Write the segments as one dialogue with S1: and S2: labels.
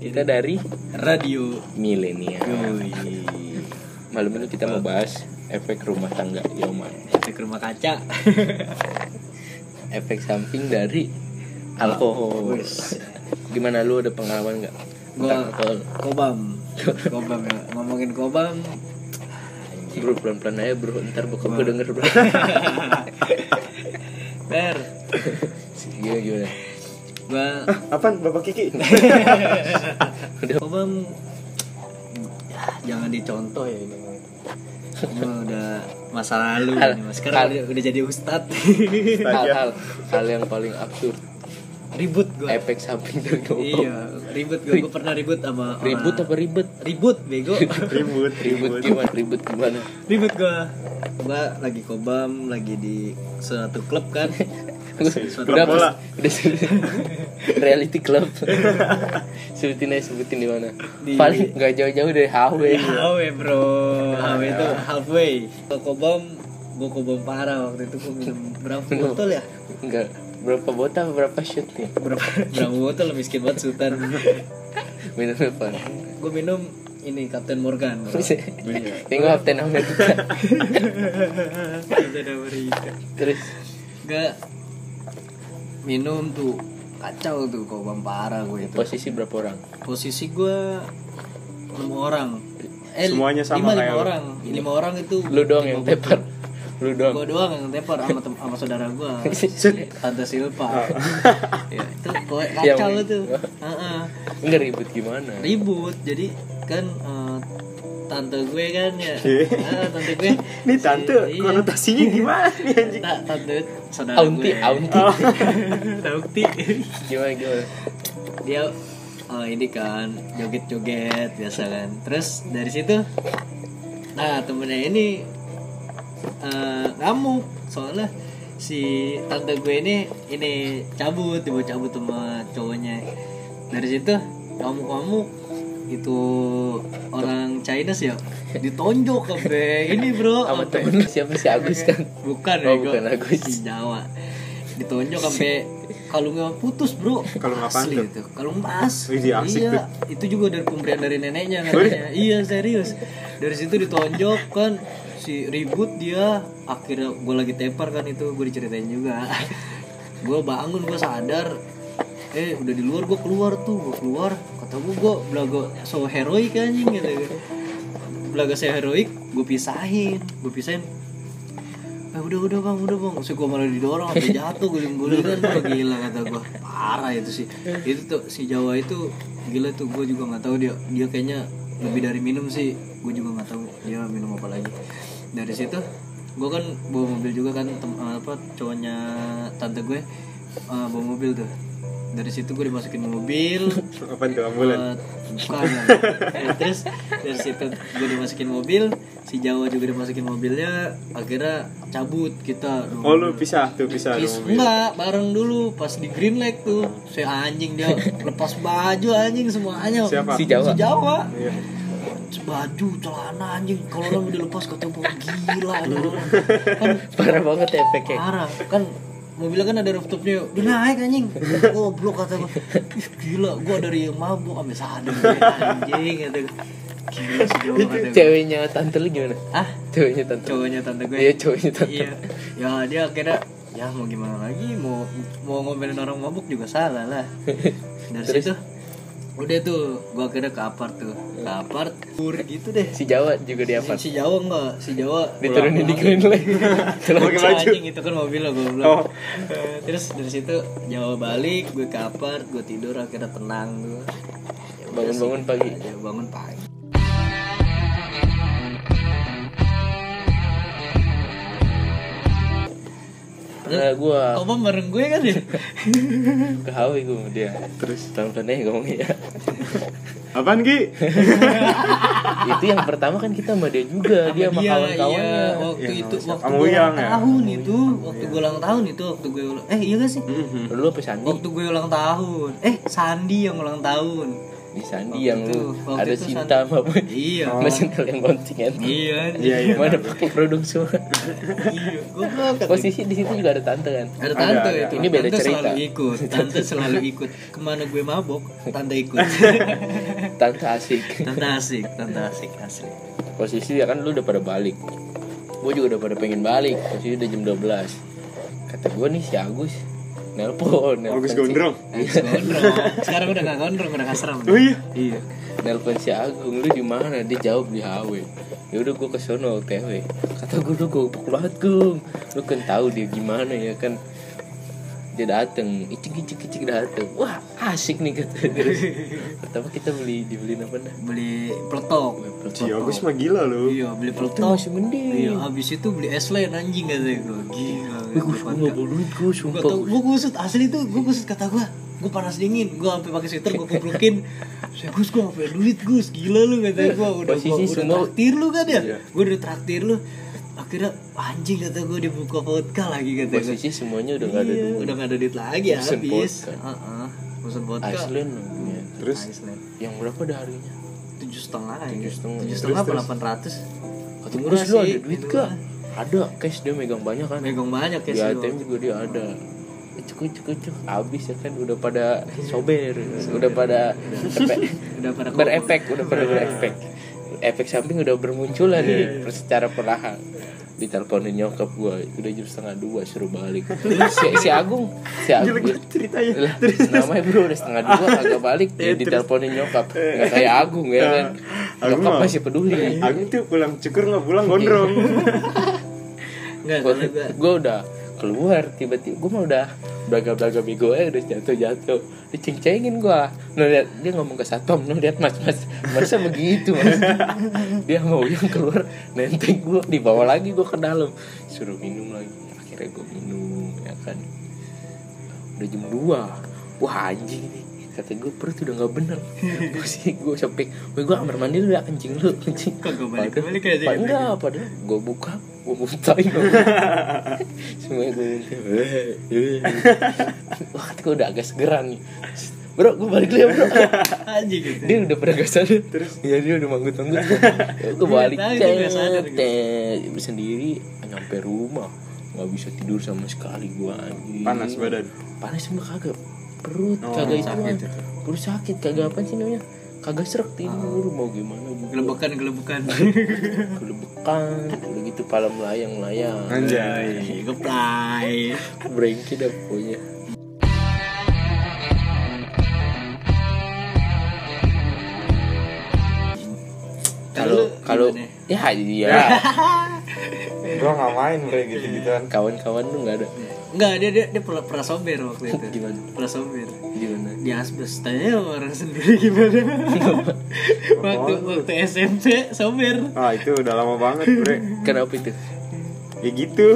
S1: berita dari
S2: Radio.
S1: milenial.
S2: Yoi.
S1: Malam ini kita membahas efek rumah tangga Yoman.
S2: Efek rumah kaca.
S1: Efek samping dari alkohol. Gimana lu ada pengalaman nggak?
S2: Gua
S1: Tentang alkohol.
S2: kobam. Kobam ya. Ngomongin kobam.
S1: Bro, pelan-pelan aja bro, ntar bokap gue denger bro
S2: Per.
S1: Gimana, gimana?
S2: Gua
S3: Apaan Bapak Kiki?
S2: kobam ya, jangan dicontoh ya ini. Gua udah masa lalu
S1: Hal-
S2: ini mas. Sekarang
S1: hal-
S2: udah, udah jadi ustad.
S1: Hal-hal hal yang paling absurd
S2: ribut gua.
S1: Efek samping dari rokok
S2: Iya, ribut gua. Gua pernah ribut sama orang-
S1: Ribut apa ribet?
S2: Ribut bego.
S3: Ribut,
S1: Ribut gimana? Ribut gimana?
S2: ribut gua. Gua lagi kobam, lagi di suatu klub kan.
S1: udah
S3: bola.
S1: pas- udah se- reality club sebutin aja sebutin di mana
S2: Di- Iya.
S1: paling nggak jauh-jauh dari HW
S2: Hawe Ya, bro, Ya. Hawe itu halfway. Gua kobam, gua kobam parah waktu itu gua minum berapa botol ya?
S1: nggak berapa botol berapa shoot nih
S2: Berapa berapa botol miskin banget sultan.
S1: minum berapa
S2: Gua minum ini Kapten Morgan. bro. Iya.
S1: tengok Captain America
S2: Kapten Amerika.
S1: terus
S2: Gak minum tuh kacau tuh kobam parah gue itu.
S1: posisi berapa orang
S2: Posisi gua enam orang. Eh,
S3: Semuanya
S2: lima,
S3: sama kayak
S2: lima
S3: lu.
S2: orang. Lima orang itu
S1: lu doang yang tepar lu doang
S2: gue doang yang tepar sama tem- sama saudara gue tante Silva ya, itu kowe
S1: Yang-
S2: kacau lu tuh Heeh.
S1: nggak ribut gimana
S2: ribut jadi kan eh, tante gue kan ya ah, tante gue
S3: Ini tante
S2: Iya.
S3: konotasinya gimana nih anjing?
S2: Ta- tante saudara
S1: aunti
S2: gue Oh.
S1: aunti
S2: Aunti.
S1: gimana gimana
S2: dia eh, ini kan joget-joget biasa kan terus dari situ nah temennya ini eh, ngamuk soalnya si tante gue ini ini cabut dibawa cabut sama cowoknya dari situ ngamuk ngamuk itu orang China sih ya ditonjok kabe ini bro
S1: sama
S2: sampai-
S1: temen lu siapa sih Agus kan
S2: bukan
S1: Oh,
S2: bego.
S1: bukan Agus.
S2: Si Jawa ditonjok sampai kalungnya putus bro
S3: Kalung apaan
S2: Asli
S3: tuh?
S2: itu kalung emas
S3: Wih, dia asik
S2: iya itu juga dari pemberian dari neneknya
S3: Wih.
S2: katanya iya serius dari situ ditonjok kan si ribut dia akhirnya gue lagi tepar kan itu gue diceritain juga gue bangun gue sadar eh udah di luar gue keluar tuh gue keluar kata gue gue belaga so heroik anjing gitu belaga saya heroik gue pisahin gue pisahin Eh, udah udah bang udah bang Terus gue malah didorong sampai jatuh guling guling kan Wah, gila kata gue parah itu sih itu tuh si Jawa itu gila tuh gue juga nggak tahu dia dia kayaknya lebih dari minum sih gue juga nggak tahu dia minum apa lagi dari situ gue kan bawa mobil juga kan tem- apa cowoknya tante gue eh, bawa mobil tuh dari situ gue dimasukin mobil
S3: Apaan tuh
S2: Eh,
S3: ambulan?
S2: bukan. Eh, terus dari situ gue dimasukin mobil si Jawa juga dimasukin mobilnya akhirnya cabut kita Duh,
S3: Oh lu pisah tuh pisah
S2: Is,
S3: lu mobil.
S2: enggak bareng dulu pas di Green Lake tuh si anjing dia lepas baju anjing semuanya
S3: Siapa?
S1: Si Jawa.
S2: si Jawa
S3: Iya.
S2: baju celana anjing kalau lu dilepas kata gua gila ini orang." kan
S1: parah banget ya efeknya
S2: Parah kan mobilnya kan ada rooftopnya udah naik anjing goblok kata gue gila gue dari yang mabuk sampai sadar gua, anjing kata gue gila sih Jawa kata gue
S1: ceweknya tante lu gimana
S2: ah
S1: ceweknya tante
S2: cowoknya tante gue
S1: Iya, cowoknya tante.
S2: iya ya dia akhirnya ya mau gimana lagi mau mau ngomelin orang mabuk juga salah lah dari situ udah tuh gue akhirnya ke apart tuh ke apart tur gitu deh
S1: si Jawa juga di apa
S2: si, si Jawa enggak si Jawa
S1: diturunin di
S2: pulang-pulang.
S1: Green Lake
S2: Pakai
S3: baju.
S2: anjing itu kan mobil lo goblok.
S3: Oh.
S2: Eh, Terus dari situ Jawa balik, gue kapar, gue tidur akhirnya tenang gue. Ya udah
S1: Bangun-bangun
S2: sih,
S1: pagi.
S2: aja, bangun pagi.
S1: Nah, gue
S3: Ah.
S2: Kau bang bareng gue kan ya?
S1: ke HW gue sama dia
S3: Terus
S1: pelan-pelan aja ngomongnya ya.
S3: apaan Ki?
S1: itu yang pertama kan kita sama dia juga dia sama
S2: Iya,
S1: kawan-kawannya
S2: iya, waktu
S3: Iya,
S2: itu
S3: sama siapa?
S2: waktu
S3: Sama Hmm.
S2: gue ulang
S3: Uyang ya?
S2: tahun itu, waktu gue ulang tahun itu, waktu gue ulang- eh iya gak sih?
S1: lu apa Sandi
S2: Waktu gue ulang tahun, eh Sandi yang ulang tahun.
S1: di Sandi
S3: Iya,
S1: yang lu
S2: Waktu itu- waktu
S1: ada
S2: itu
S1: cinta
S2: Sandi-
S1: sama apa
S2: Iya.
S1: sama sentel yang bouncing kan
S2: Iya. anjing.
S3: Iya, iya.
S1: mana pakai produk semua
S2: Iya. Goblok.
S1: posisi di situ juga ada tante kan
S2: Ada tante
S3: Ada, ada.
S2: itu.
S1: Ini beda
S2: tante
S1: cerita.
S2: selalu ikut. Tante selalu ikut. Kemana gue mabok, tante ikut.
S1: tante asik
S2: tante asik, tante asik asli.
S1: posisi ya kan lu udah pada balik gue juga udah pada pengen balik posisi udah jam 12 kata gue nih si Agus nelpon nelpon si-
S3: Agus Gondrong.
S2: Gondrong. Sekarang udah gak gondrong, udah kasram.
S3: Oh iya.
S2: Iya.
S1: nelpon si Agung lu di mana dia jawab di HW ya udah gue kesono TW kata gue lu goblok banget Gung lu kan tahu dia gimana ya kan dia dateng icik icik icik dateng wah asik nih kata terus pertama kita beli dibeliin apa dah
S2: Beli peletok.
S3: Si Agus mah gila lu.
S2: Iya, beli
S1: itu
S2: peletok.
S1: masih mending
S2: Iya, habis itu beli es lain anjing katanya gue. Gila.
S1: Wih, gue
S2: gua
S1: gak bawa duit gue
S2: Gak
S1: sumpah
S2: tau, gue kusut, asli tuh gue kusut kata gue Gue panas dingin, gue sampai pakai sweater, gue kuplukin Saya Gus, gue gak punya duit Gus, gila lu kata gue Udah,
S1: Posisi
S2: gua, udah
S1: semua- Iya.
S2: traktir lu kan ya Gue udah traktir lu Akhirnya anjing kata gue dibuka vodka lagi kata gue
S1: posisi semuanya udah gak ada
S2: Iya,
S1: duit
S2: Udah gak ada duit lagi
S1: Pesen
S2: habis
S1: vodka.
S2: Heeh, Pesen vodka
S1: Iceland namanya.
S3: Terus
S2: Iceland.
S1: yang berapa dah harganya
S2: Tujuh setengah ya
S1: Tujuh setengah.
S2: Tujuh
S1: Terus,
S2: setengah apa delapan ratus
S1: kata
S2: Murah
S1: Gus lu
S2: sih, Iya.
S1: ada duit
S2: murah.
S1: gak ada cash dia megang banyak kan
S2: Megang banyak ya
S1: di
S2: sih
S1: ATM juga dia ada Hmm. cukup cukup cukup habis ya kan udah pada sober udah pada efek-
S2: Udah pada
S1: berefek udah pada berefek efek samping udah bermunculan nih per- secara perlahan diteleponin nyokap gua udah jam setengah dua suruh balik si, si Agung si Agung
S3: Gila ceritanya.
S1: lah, namanya bro udah setengah dua kagak balik dia diteleponin nyokap nggak kayak Agung ya kan
S3: Agung
S1: nyokap
S3: mah-
S1: masih peduli
S3: Agung tuh pulang cukur nggak pulang gondrong.
S2: Enggak, karena gue
S1: gue udah keluar tiba-tiba gue mah udah belaga-belaga bego eh udah jatuh-jatuh diceng-cengin gue no, liat, dia ngomong ke satpam no lihat mas mas masa begitu mas dia mau yang keluar nenteng gue dibawa lagi gue ke dalam suruh minum lagi akhirnya gue minum ya kan udah jam 2 wah anjing nih kata gue perut udah nggak bener posisi gue sampai gue gue kamar mandi lu ya kencing lu kencing
S2: Kagak balik-balik aja
S1: Padahal-
S2: gitu.
S1: enggak padahal gue buka gue muntahin semua gue muntahin waktu gue udah agak segeran nih bro gue balik dulu ya bro
S2: Anjing gitu
S1: dia udah pada gak sadar terus ya dia udah manggut manggut gue balik
S2: Iya, tahu dia nggak sadar gitu.
S1: cet sendiri nyampe rumah nggak bisa tidur sama sekali gue anjing
S3: Panas badan.
S1: panas mah kagak perut
S3: Oh,
S1: kagak itu
S2: sakit
S1: mah.
S2: itu.
S1: perut sakit kagak apa sih namanya kagak serak tidur
S2: Ah.
S1: mau gimana gua.
S2: Gelebekan-gelebekan
S1: gelebekan udah gitu pala melayang melayang
S3: Anjay.
S2: Iya, Geplay
S1: brengki dah pokoknya kalau kalau ya iya
S3: Gua nggak main bre gitu gituan.
S1: kawan-kawan tuh nggak ada
S2: Enggak, dia dia, dia pernah, pernah sober waktu Ya, itu.
S1: Gimana?
S2: Pernah sober.
S1: gimana
S2: Di asbes tanya sama orang sendiri gimana. waktu waktu SMP sober.
S3: Ah itu udah lama banget bre.
S1: kenapa itu
S3: Ya gitu.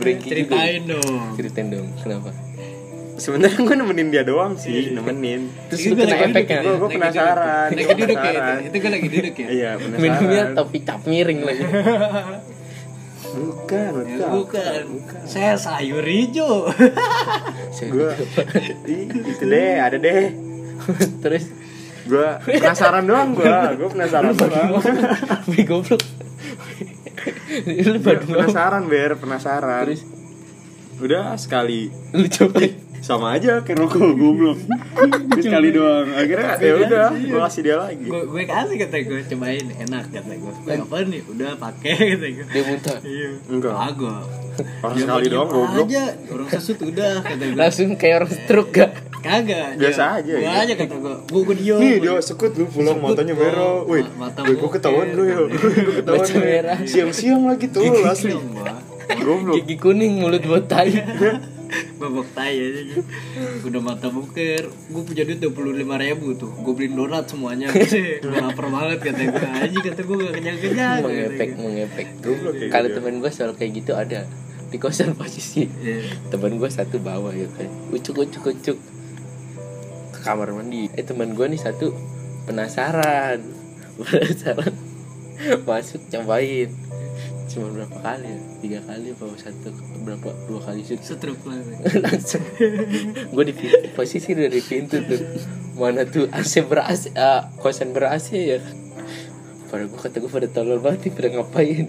S1: brengki juga ya?
S2: Ceritain dong.
S1: ceritain dong kenapa
S3: Sebenarnya gue nemenin dia doang sih, nemenin.
S1: terus lu
S2: Ini
S1: kena
S2: gua lagi duduk,
S1: efeknya
S3: Gue gue penasaran.
S2: Lagi
S3: gua
S2: duduk ya itu.
S3: penasaran.
S2: Itu kan lagi duduk ya.
S3: Iya
S1: minumnya
S3: penasaran.
S1: tapi cap miring lagi
S3: Bukan,
S2: Ya,
S3: bukan.
S2: bukan. Saya sayur hijau.
S3: Gue itu deh, ada deh.
S1: terus
S3: Gue penasaran doang gue. Gue penasaran doang.
S1: Wih goblok Lu
S3: Iya,
S1: baru ngomong
S3: penasaran ber penasaran
S1: Terus?
S3: udah sekali
S1: Lu coba
S3: sama aja kayak rokok goblok sekali doang akhirnya ya udah gua kasih dia lagi
S2: gue gue kasih kata gue cobain enak kata gue.
S3: Iya.
S2: Gue apaan nih? Udah pakai kata gue.
S1: Dia muntah
S2: Iya.
S3: Enggak.
S2: Kagak.
S3: Orang
S2: Dia
S3: sekali
S2: mah diem
S3: doang, goblok. Nah,
S2: Aja orang sesut udah kata gue.
S1: Langsung kayak orang stroke gak
S2: Kagak.
S3: Biasa
S2: dia-
S3: aja,
S2: Gua
S3: ya.
S2: aja kata gua, gua gua diem.
S3: nih dia sekut lu pulang matanya
S2: gua.
S3: merah wih
S2: Ma- mata
S3: wih, gua
S2: bokeh.
S3: ketahuan lu yuk gua ketahuan
S1: Mata
S3: lu.
S1: merah.
S3: siang-siang lagi tuh lu asli
S2: Diem gua.
S3: goblok
S1: Gigi kuning mulut botai
S2: Babak tai aja gitu. Udah mata bokeh. Gua punya duit 25 ribu tuh. Gua beliin donat semuanya. Gua lapar banget kata gua. Anjing kata gua gak kenyang-kenyang. kata
S1: Mengepek
S2: gua.
S1: mengepek
S3: Goblok ya,
S1: Kalau
S3: dia.
S1: temen gue soal kayak gitu ada Di kosan posisi
S2: Iya.
S1: teman gue satu bawa ya kan ucuk ucuk ucuk ke kamar mandi eh teman gue nih satu penasaran penasaran masuk cobain cuma berapa kali ya? tiga kali apa satu berapa dua kali sih
S2: Setruk lah gue.
S1: langsung gue di pintu, posisi dari pintu tuh mana tuh AC ber-AC ah, kosan ber-AC ya pada gue kata gue pada tolol banget nih, pada ngapain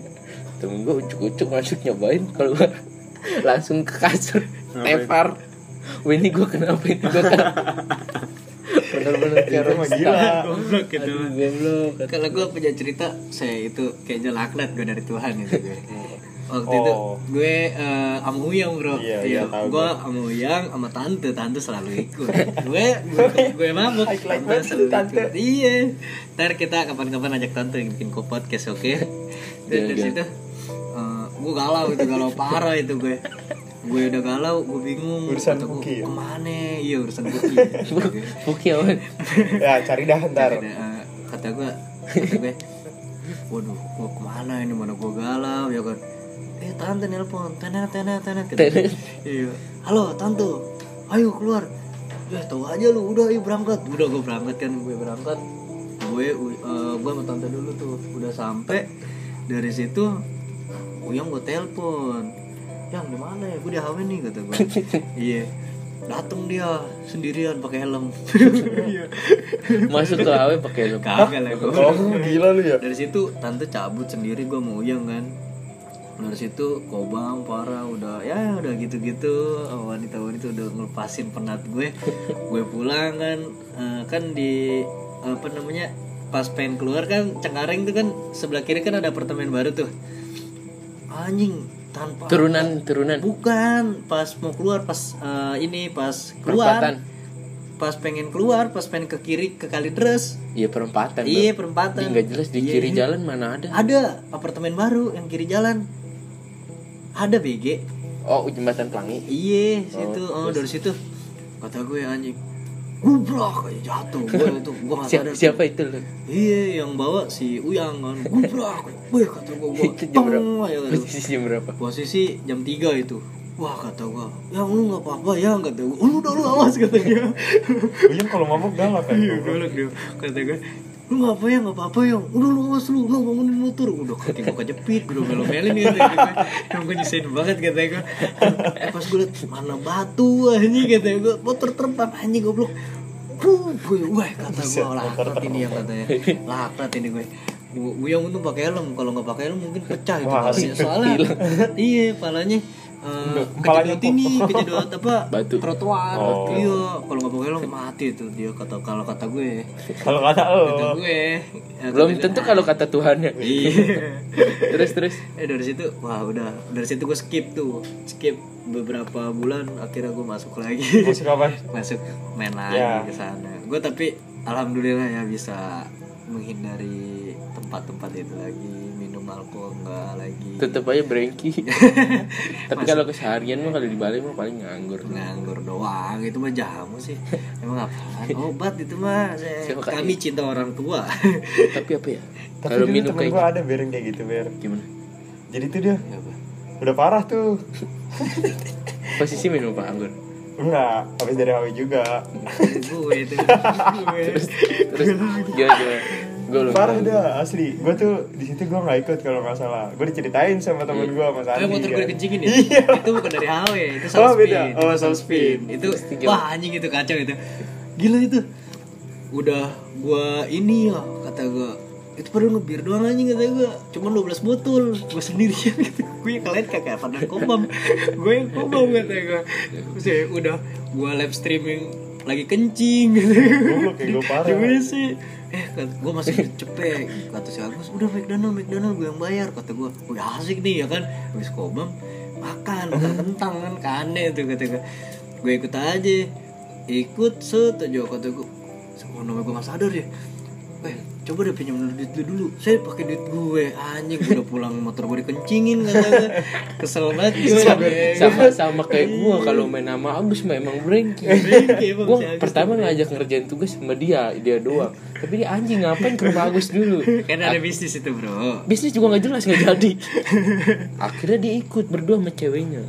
S1: temen gue ucuk-ucuk masuk nyobain kalau gue langsung ke kasur
S3: Ngapain?
S1: tepar Wih, ini gue kenapa ini gue kenapa bener-bener kayak
S3: Itu mah
S1: rockstar
S3: gila.
S2: Goblok gitu.
S1: aduh goblok
S2: Kalau gue punya cerita, saya itu kayaknya laknat gue dari Tuhan itu gue. Waktu itu
S3: Oh.
S2: gue eh, sama Uyang bro
S3: Iya, iya, tahu
S2: Gue sama Uyang sama Tante Tante selalu ikut Gue gue mabuk
S1: Like-like
S2: Tante
S1: banget
S2: selalu
S1: Tante.
S2: ikut Iya Ntar kita kapan-kapan ajak Tante yang bikin ko podcast oke Dan
S1: Iya, iya.
S2: dari situ eh, Gue galau itu galau parah itu gue Gue udah galau, gue bingung
S3: Urusan
S2: Kata gue,
S3: Buki ya?
S2: Kemana? Iya urusan Gitu. Buki
S1: Buki aman
S3: ya cari dah ntar
S2: Kata, eh, kata gue kata gue waduh gue kemana ini mana gue galau ya kan eh tante nelpon tena tena tena kata gue. iya halo tante ayo keluar ya tahu aja lu udah ayo berangkat udah gue berangkat kan gue berangkat gue u- eh, gue sama tante dulu tuh udah sampai dari situ Uyang gue telepon yang di mana ya gue di HW nih kata gue iya datang dia sendirian pakai helm Iya.
S1: masuk ke awe pakai helm
S2: Kagak lah gua.
S3: oh gila lu ya
S2: Dari situ tante cabut sendiri gua mau uyang kan. Dari situ kobang parah udah ya udah gitu-gitu Oh, wanita-wanita udah ngelepasin penat gue. gue pulang kan eh, kan di apa namanya pas pengen keluar kan Cengkareng tuh kan sebelah kiri kan ada apartemen baru tuh. Anjing tanpa
S1: turunan turunan
S2: Bukan, pas mau keluar pas eh, ini pas
S1: Perempatan.
S2: keluar. Pas pengen keluar, pas pengen ke kiri ke kali deres.
S1: iya perempatan Bang.
S2: Iya, perempatan.
S1: nggak jelas di
S2: Iya,
S1: kiri
S2: iya.
S1: jalan mana ada
S2: Ada apartemen baru yang kiri jalan. Ada BG.
S1: oh jembatan pelangi
S2: Iya, situ. Oh, dari situ. Kata gue anjing. Gubrak kayak jatuh. Gue itu gue nggak
S1: Siapa,
S2: sadar.
S1: siapa itu lu?
S2: Iya, yang bawa si Uyang kan. Gubrak. Wih, kata gue gue.
S1: Itu jam berapa?
S2: tong, aja kata gue.
S1: Posisi jam berapa?
S2: Posisi jam 3 itu. Wah kata gua, yang lu nggak apa-apa ya kata gua. Lu udah lu awas kata dia.
S3: Uyang kalau mabuk galak kan
S2: Iya golek dia. Kata gua, lu nggak apa ya nggak apa-apa yang udah lu awas lu nggak bangunin motor udah kaki gua kejepit gua melo-melin gitu yang gua nyusahin banget kata gua Eh, pas gua liat mana batu anjing kata gua motor terpam anjing goblok Wuh, gue- wah kata gua laknat ini yang katanya laknat ini gue Gue gue yang untung pakai helm, kalau nggak pakai helm mungkin pecah itu
S3: Wah,
S2: palanya. Soalnya iya palanya eh
S3: Palanya
S2: kejedot ini, kejedot apa?
S1: Batu.
S2: Trotoar.
S3: Oh.
S2: Iya, kalau nggak pakai helm mati itu dia kata kalau kata gue.
S3: kalau kata
S2: Kata
S3: lo
S2: gue. Ya,
S1: Belum
S2: kata-
S1: tentu kalau kata Tuhan ya.
S2: Iya.
S1: Terus terus.
S2: eh dari situ wah udah dari situ gue skip tuh skip beberapa bulan akhirnya gue masuk lagi
S3: musik apa
S2: masuk main lagi
S3: Ya.
S2: ke sana. Gue tapi alhamdulillah ya bisa menghindari tempat-tempat itu lagi minum alkohol enggak lagi.
S1: Tetep aja brengki. Tapi kalau keseharian mah kalau di Bali mah paling nganggur.
S2: nganggur doang itu mah jamu sih emang apaan obat itu mah saya-
S1: Siapa kali?
S2: kami cinta orang tua
S1: Tapi apa ya?
S3: tapi
S1: Kalau
S3: dulu
S1: minum
S3: temen
S1: kayak
S3: gue ada bereng kayak gitu ber
S1: gimana?
S3: jadi tuh dia
S2: Apa?
S3: udah parah tuh
S1: Posisi minum apa anggur?
S3: enggak habis dari Hawi juga
S2: gue itu gue
S1: Terus gimana gimana? Gue belum.
S3: parah
S1: tahu.
S3: dah asli gue tuh di situ gue nggak ikut kalau nggak salah gue diceritain sama temen gue mas
S2: Eh,
S3: Andi
S2: motor gue
S3: kan.
S2: kencingin ya?
S3: Iya.
S2: Itu bukan dari HW, itu sound
S3: Oh, beda.
S2: spin.
S3: Oh,
S2: Itu
S3: sound spin.
S2: Itu
S1: Tiga.
S2: wah anjing itu kacau itu. Gila itu. Udah gua ini ya kata gua itu pada ngebir doang anjing kata gua cuma 12 botol gua sendirian gitu gue yang kalian kagak pada kobam gue yang kobam kata gua terus ya udah gua live streaming lagi kencing gitu
S3: Goblok ya, gua parah.
S2: Di WC. eh gue masih cepet kata si Agus udah McDonald McDonald gue yang bayar kata gue udah asik nih ya kan habis kobam makan makan kentang kan kane tuh kata gue gue ikut aja ikut set aja kata gue semua nama gue nggak sadar ya eh coba deh pinjam dulu duit lu dulu saya pakai duit gue anjing gue udah pulang motor gue dikencingin kata gue kesel banget gue iya.
S1: Sama sama kayak gue kalau main sama Agus mah emang brengki.
S2: Bengke, Bang,
S1: Gue
S2: Eh, si Agus.
S1: pertama ngajak ngerjain tugas sama dia, dia doang. Tapi dia anjing ngapain ke rumah Agus dulu?
S2: kan ada bisnis itu bro
S1: bisnis juga nggak jelas nggak jadi akhirnya dia ikut berdua sama ceweknya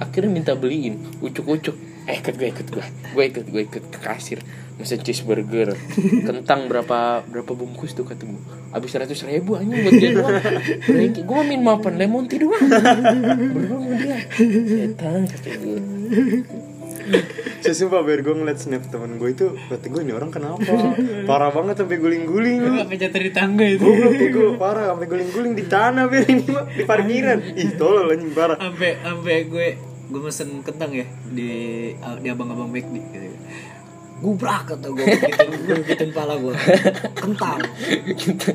S1: akhirnya minta beliin ucuk ucuk eh ikut gue ikut gue gue ikut gue ikut ke kasir mesen cheeseburger kentang berapa berapa bungkus tuh kata gue abis seratus ribu aja buat dia doang Berengki- gue min mapan lemon tea doang berdua sama dia setan kata gue
S4: Saya sumpah biar gue ngeliat snap temen gue itu Kata gue ini orang kenapa Parah banget sampai guling-guling lu
S2: Kejar dari tangga itu
S4: Goblok ya gue parah sampai guling-guling di tanah biar ini mah di parkiran Ih tolol anjing parah
S2: sampai sampai gue gue mesen kentang ya di di abang-abang McD gitu. Gubrak kata gue begitu gue gituin pala gue kentang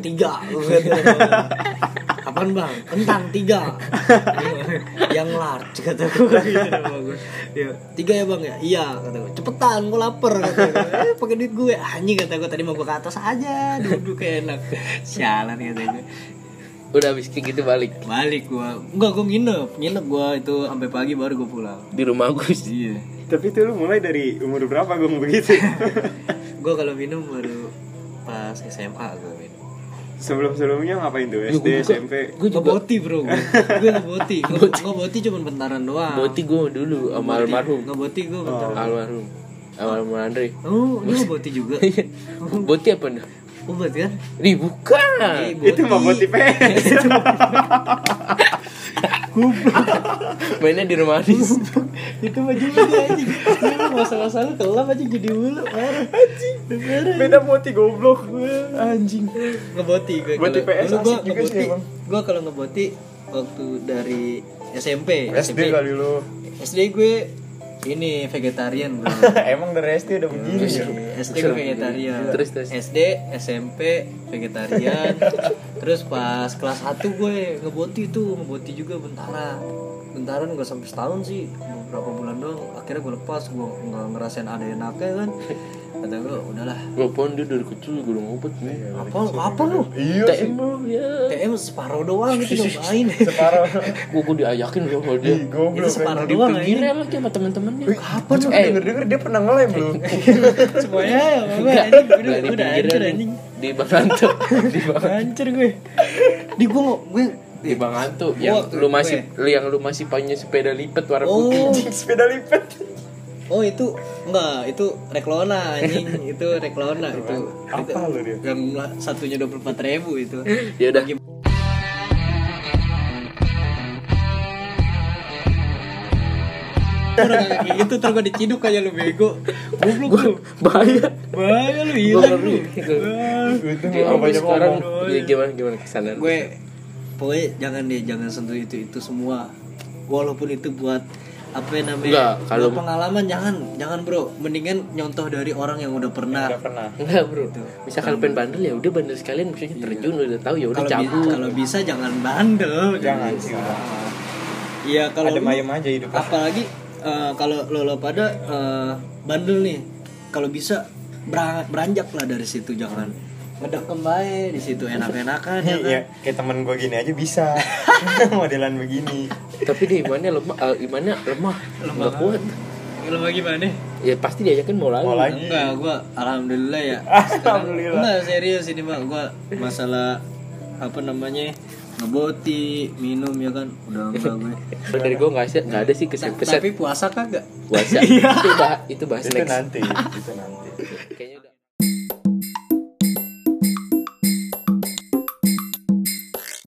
S2: tiga gue gitu. Apaan bang? Kentang tiga Yang large kata gue gitu sama gue. Iya, Tiga ya bang ya? Iya kata gue Cepetan gue lapar kata gue Eh pakai duit gue Anjing kata gue tadi mau gue ke atas aja Duduk enak Sialan kata gue
S1: udah abis kayak gitu balik
S2: Balik gua. Enggak, gua nginep. Nginep gua itu sampai pagi baru gua pulang.
S1: di rumah gue sih
S2: Iya.
S4: Tapi itu lu mulai dari umur berapa gitu? gue begitu
S2: Gua kalau minum baru pas SMA gua minum.
S4: Sebelum-sebelumnya
S1: Ya,
S4: ngapain tuh SD, SMP
S1: gue juga
S2: Ngeboti, Bro. Gua, gua ngeboti. Gua ngeboti cuman bentaran doang.
S1: boti gue dulu sama almarhum
S2: Ngeboti gua
S4: Oh.
S2: bentaran.
S1: almarhum almarhum Andre
S2: Oh, lu ngeboti juga.
S1: Iya. boti apa nih
S2: Obat kan?
S1: Ih, bukan
S2: Eh,
S4: Itu mah buat IPS
S1: mainnya di rumah Anis
S2: Itu baju baju anjing. Ini mah masa-masa lu kelam aja jadi mulu. Anjing.
S4: Beda moti goblok Anjing
S2: ngeboti gue
S4: Buat IPS
S2: dulu gue
S4: asik juga sih
S2: ngeboti
S4: emang.
S2: gue kalau ngeboti waktu dari SMP
S4: SD kali lu
S2: SD gue ini vegetarian bro
S4: Emang dari SD udah begini ya
S2: SD gue vegetarian
S1: Terus, terus.
S2: SD SMP vegetarian terus pas kelas 1 gue ngeboti tuh ngeboti juga bentara bentaran gak sampai setahun sih beberapa bulan doang akhirnya gue lepas gue nggak ngerasain ada enaknya kan kata gue udahlah
S1: gue pun dia dari kecil gue udah ngobot nih
S2: apa lu apa lu
S4: Iya
S1: TM bro ya
S2: TM separuh doang gitu ngapain
S4: Parah
S1: gue gue diajakin loh sama dia Nah,
S4: Ih, goblok
S2: itu separuh doang
S1: Ini
S2: ini
S1: lagi sama temen-temennya Eh,
S4: Apa tuh denger-denger dia pernah ngelem lu
S2: semuanya apa gue
S1: Enggak,
S2: anjing
S1: enggak,
S2: udah
S1: di
S2: udah
S1: pinggiran
S2: hancur
S1: nih.
S2: anjing
S1: Di Bang Anto Di Bang,
S2: hancur gue di gue nggak- gue
S1: di Bang Anto
S2: Gua
S1: Yang
S2: waktu
S1: lu
S2: itu
S1: masih lu Yang lu masih punya sepeda lipat warna putih
S2: oh
S4: Sepeda lipat
S2: oh itu enggak itu reklona anjing itu reklona itu
S4: Apa lu dia
S2: yang la- satunya dua puluh ribu itu
S1: Ya udah
S2: orang kayak gitu terus gue diciduk aja lu bego goblok lu
S1: Bahaya
S2: bahaya lu hilang lu
S4: gitu.
S1: Oke, sampai sekarang ya, Gimana gimana kesana
S2: gue pokoknya jangan deh jangan sentuh itu itu semua walaupun itu buat apa ya namanya
S1: Enggak, kalau-
S2: buat pengalaman jangan jangan bro mendingan nyontoh dari orang yang udah pernah
S4: Pernah
S1: Enggak bro
S2: Gitu.
S1: Misalkan pengen bandel ya udah bandel sekalian Misalnya terjun udah tahu ya udah
S2: Iya. kalau bi-
S1: cabut
S2: kalau bisa jangan bandel
S4: Jangan sih
S2: iya kalau
S4: Ada
S2: lu-
S4: mayem aja hidup
S2: apalagi eh, kalau lo lo pada eh, bandel nih kalau bisa berang- beranjak lah dari situ jangan ngedekem bae di situ enak-enakan ya kan?
S4: Iya, kayak temen gue gini aja bisa Modelan begini
S1: Tapi dia imannya lemah eh, Imannya lemah Enggak kuat
S2: Kalau bagaimana?
S1: Ya pasti diajakin mau lagi
S4: Mau lagi
S2: Enggak, gua alhamdulillah ya.
S4: Iya. Alhamdulillah.
S2: Enggak serius ini mah gua masalah apa namanya ngeboti minum ya kan udah enggak gue.
S1: Kalau Dari gue gak ada, nggak ada sih
S2: Ta-
S1: kesan-kesan
S2: Tapi puasa kagak?
S1: Puasa Itu bah- itu bahas
S4: Iya. Itu
S1: next
S4: nanti Itu nanti
S1: Kayaknya